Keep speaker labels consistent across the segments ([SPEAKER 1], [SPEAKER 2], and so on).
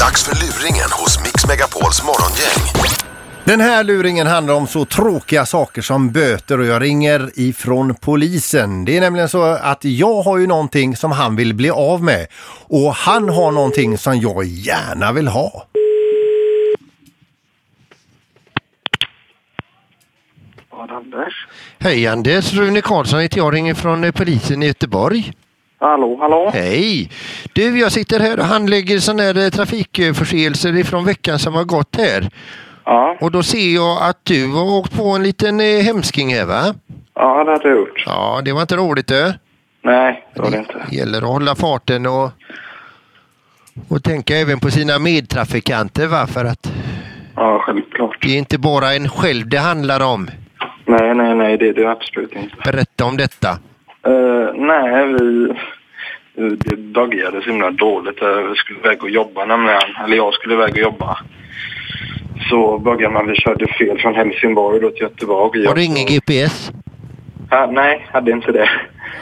[SPEAKER 1] Dags för luringen hos Mix Megapols morgongäng.
[SPEAKER 2] Den här luringen handlar om så tråkiga saker som böter och jag ringer ifrån polisen. Det är nämligen så att jag har ju någonting som han vill bli av med och han har någonting som jag gärna vill ha.
[SPEAKER 3] Anders.
[SPEAKER 2] Hej Anders, Rune Karlsson heter jag, ringer från eh, polisen i Göteborg.
[SPEAKER 3] Hallå, hallå.
[SPEAKER 2] Hej! Du, jag sitter här och handlägger sådana här eh, trafikförseelser ifrån veckan som har gått här.
[SPEAKER 3] Ja,
[SPEAKER 2] Och då ser jag att du har åkt på en liten eh, hemsking här va?
[SPEAKER 3] ja det har du gjort.
[SPEAKER 2] Ja, det var inte roligt du.
[SPEAKER 3] Nej, det var det inte.
[SPEAKER 2] gäller att hålla farten och, och tänka även på sina medtrafikanter va? för att
[SPEAKER 3] Ja, självklart.
[SPEAKER 2] det är inte bara en själv det handlar om.
[SPEAKER 3] Nej, nej, nej, det är det absolut inte.
[SPEAKER 2] Berätta om detta.
[SPEAKER 3] Eh, nej, vi... Det började så himla dåligt. Eh, Vi skulle iväg och jobba nämligen. Eller jag skulle iväg och jobba. Så började man, vi körde fel från Helsingborg då till Göteborg.
[SPEAKER 2] Har du ingen GPS?
[SPEAKER 3] Ja, nej, hade inte det.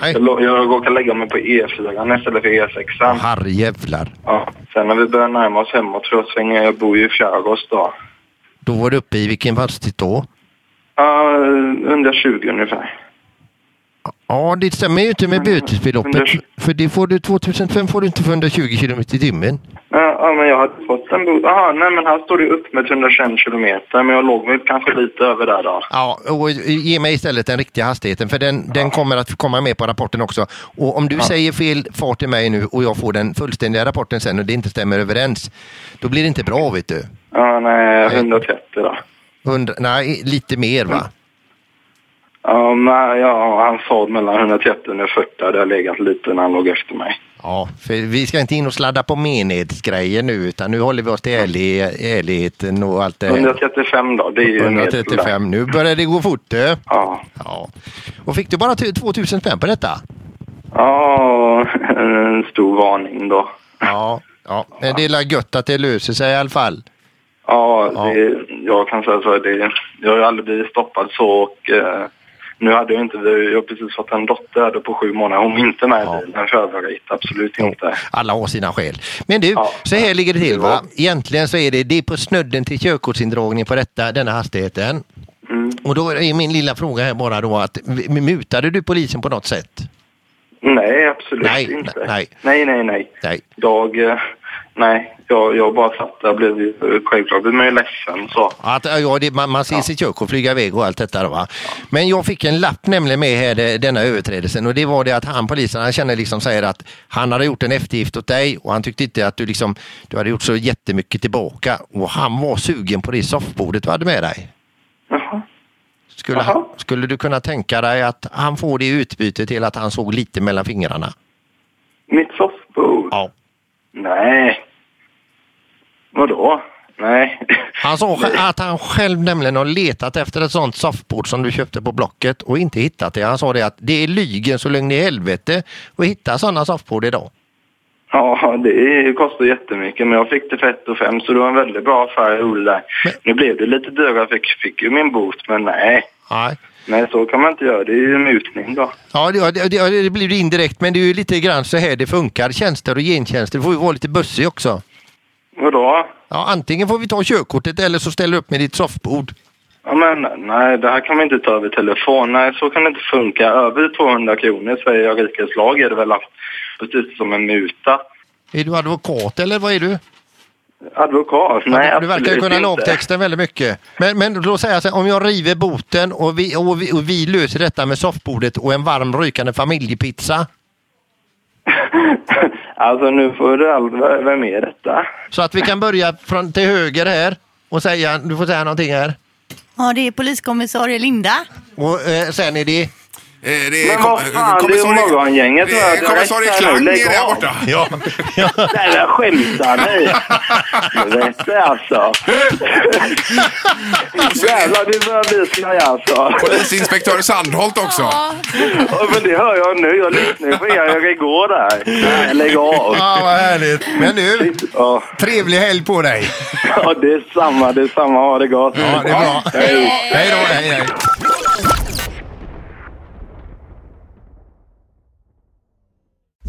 [SPEAKER 2] Nej.
[SPEAKER 3] Jag, lå- jag råkade lägga mig på E4 istället för E6.
[SPEAKER 2] Herrejävlar.
[SPEAKER 3] Ja. Sen när vi började närma oss hemåt tror jag svänger, jag bor ju i Fjärgås då.
[SPEAKER 2] Då var du uppe i vilken hastighet då?
[SPEAKER 3] Ja, 120 ungefär.
[SPEAKER 2] Ja, det stämmer ju inte med bötesbeloppet.
[SPEAKER 3] 120.
[SPEAKER 2] För det får du 2005 får du inte för 120 kilometer i timmen.
[SPEAKER 3] Ja, ja, men jag hade fått en bot. Aha, nej men här står det ju upp med 121 kilometer, men jag låg väl kanske lite över där då.
[SPEAKER 2] Ja, och ge mig istället den riktiga hastigheten för den, den kommer att komma med på rapporten också. Och om du säger fel fart till mig nu och jag får den fullständiga rapporten sen och det inte stämmer överens, då blir det inte bra vet du.
[SPEAKER 3] Ja, nej, 130 då.
[SPEAKER 2] Hundra, nej, lite mer va?
[SPEAKER 3] Ja, men, ja, han sa mellan 130 och 140, det har legat lite när han låg efter mig.
[SPEAKER 2] Ja, för vi ska inte in och sladda på menighetsgrejer nu utan nu håller vi oss till ärlig, ärligheten och allt det här.
[SPEAKER 3] 135 då, det är ju en medel där.
[SPEAKER 2] 135, nu börjar det gå fort du.
[SPEAKER 3] Ja,
[SPEAKER 2] Ja. Och fick du bara 2000 spänn på detta?
[SPEAKER 3] ja en stor varning då.
[SPEAKER 2] Ja, ja. men det är la gött att det löser sig i alla fall.
[SPEAKER 3] Ja,
[SPEAKER 2] Ja.
[SPEAKER 3] Det, jag kan säga så. här, Det, jag har ju aldrig blivit stoppad så. Och, eh, nu hade jag inte... Jag har precis fått en dotter här då på sju månader. Hon var inte med i
[SPEAKER 2] Ja.
[SPEAKER 3] bilen för övrigt. Absolut inte.
[SPEAKER 2] Alla har sina skäl. Men du,
[SPEAKER 3] Ja.
[SPEAKER 2] så här ligger det till va?
[SPEAKER 3] Ja.
[SPEAKER 2] Egentligen så är det, det är på snudden till körkortsindragning på detta, denna hastigheten.
[SPEAKER 3] Mm.
[SPEAKER 2] Och då är min lilla fråga här bara då att m- mutade du polisen på något sätt?
[SPEAKER 3] Nej, absolut
[SPEAKER 2] Nej,
[SPEAKER 3] inte.
[SPEAKER 2] ne- nej.
[SPEAKER 3] nej, nej. nej.
[SPEAKER 2] Nej.
[SPEAKER 3] Jag... Eh, nej, jag, jag bara satt där och blev ju- eh, självklart blev man ju ledsen så.
[SPEAKER 2] Att, ja, det, man, man ser sitt körkort flyga iväg och allt detta. Då, va? Men jag fick en lapp nämligen med här, eh, denna överträdelsen och det var det att han polisen, han känner liksom säger att han hade gjort en eftergift åt dig och han tyckte inte att du liksom, du hade gjort så jättemycket tillbaka och han var sugen på det soffbordet du hade med dig.
[SPEAKER 3] Jaha.
[SPEAKER 2] Skulle,
[SPEAKER 3] Jaha.
[SPEAKER 2] han, skulle du kunna tänka dig att han får det i utbyte till att han såg lite mellan fingrarna?
[SPEAKER 3] Mitt soffbord?
[SPEAKER 2] Ja.
[SPEAKER 3] Nej. Vadå? Nej.
[SPEAKER 2] Han sa sj- att han själv nämligen har letat efter ett sånt soffbord som du köpte på Blocket och inte hittat det. Han sa det att det är lygen så lögn i helvete att hitta sådana soffbord idag.
[SPEAKER 3] Ja, det kostar jättemycket, men jag fick det för 1 och fem så det var en väldigt bra affär jag gjorde där.
[SPEAKER 2] Men-
[SPEAKER 3] Nu blev det lite dyrare, jag fick, fick ju min bot, men nej.
[SPEAKER 2] Nej.
[SPEAKER 3] Nej, så kan man inte göra. Det är ju mutning då.
[SPEAKER 2] Ja, det, det, det, det blir ju indirekt men det är ju lite grann så här det funkar. Tjänster och gentjänster får ju vara lite bussig också.
[SPEAKER 3] Vadå?
[SPEAKER 2] Ja, antingen får vi ta körkortet eller så ställer du upp med ditt soffbord.
[SPEAKER 3] Ja, men nej, det här kan vi inte ta över telefon. Nej, så kan det inte funka. Över 200 kronor, säger jag rikets lag, är det väl att- precis som en muta.
[SPEAKER 2] Är du advokat eller vad är du?
[SPEAKER 3] Advokat? Nej,
[SPEAKER 2] du verkar ju
[SPEAKER 3] absolut
[SPEAKER 2] kunna
[SPEAKER 3] inte.
[SPEAKER 2] lagtexten väldigt mycket. Men, men då säger jag så här, om jag river boten och vi, och, vi, och vi löser detta med soffbordet och en varm rykande familjepizza.
[SPEAKER 3] alltså, nu får du all... Vem är detta?
[SPEAKER 2] Så att vi kan börja från till höger här och säga, du får säga någonting här.
[SPEAKER 4] Ja, det är poliskommissarie Linda.
[SPEAKER 2] Och eh, sen är det...
[SPEAKER 5] Eh, Det är
[SPEAKER 3] Men vad
[SPEAKER 5] kom-
[SPEAKER 3] fan, det är ju
[SPEAKER 5] kommissarie-
[SPEAKER 3] morgongänget,
[SPEAKER 5] Det
[SPEAKER 3] va?
[SPEAKER 5] är
[SPEAKER 3] Det
[SPEAKER 5] Kommissarie
[SPEAKER 3] räcker nu,
[SPEAKER 5] Klang
[SPEAKER 3] lägg
[SPEAKER 5] är där
[SPEAKER 3] av.
[SPEAKER 5] borta.
[SPEAKER 2] Ja, ja.
[SPEAKER 3] Nej, men skämtar ni? Helvete alltså. Jävlar, det börjar bli skoj alltså.
[SPEAKER 5] Polisinspektör Sandholt också.
[SPEAKER 3] Ja, Men det hör jag nu. Jag lyssnade på er jag igår där. Nej, Lägg av.
[SPEAKER 2] ja, vad härligt. Men nu,
[SPEAKER 3] Ja,
[SPEAKER 2] trevlig helg på dig.
[SPEAKER 3] ja, det är samma. Det är samma. Ha det gott.
[SPEAKER 2] Ja, det är bra. Hej då, hej, hej.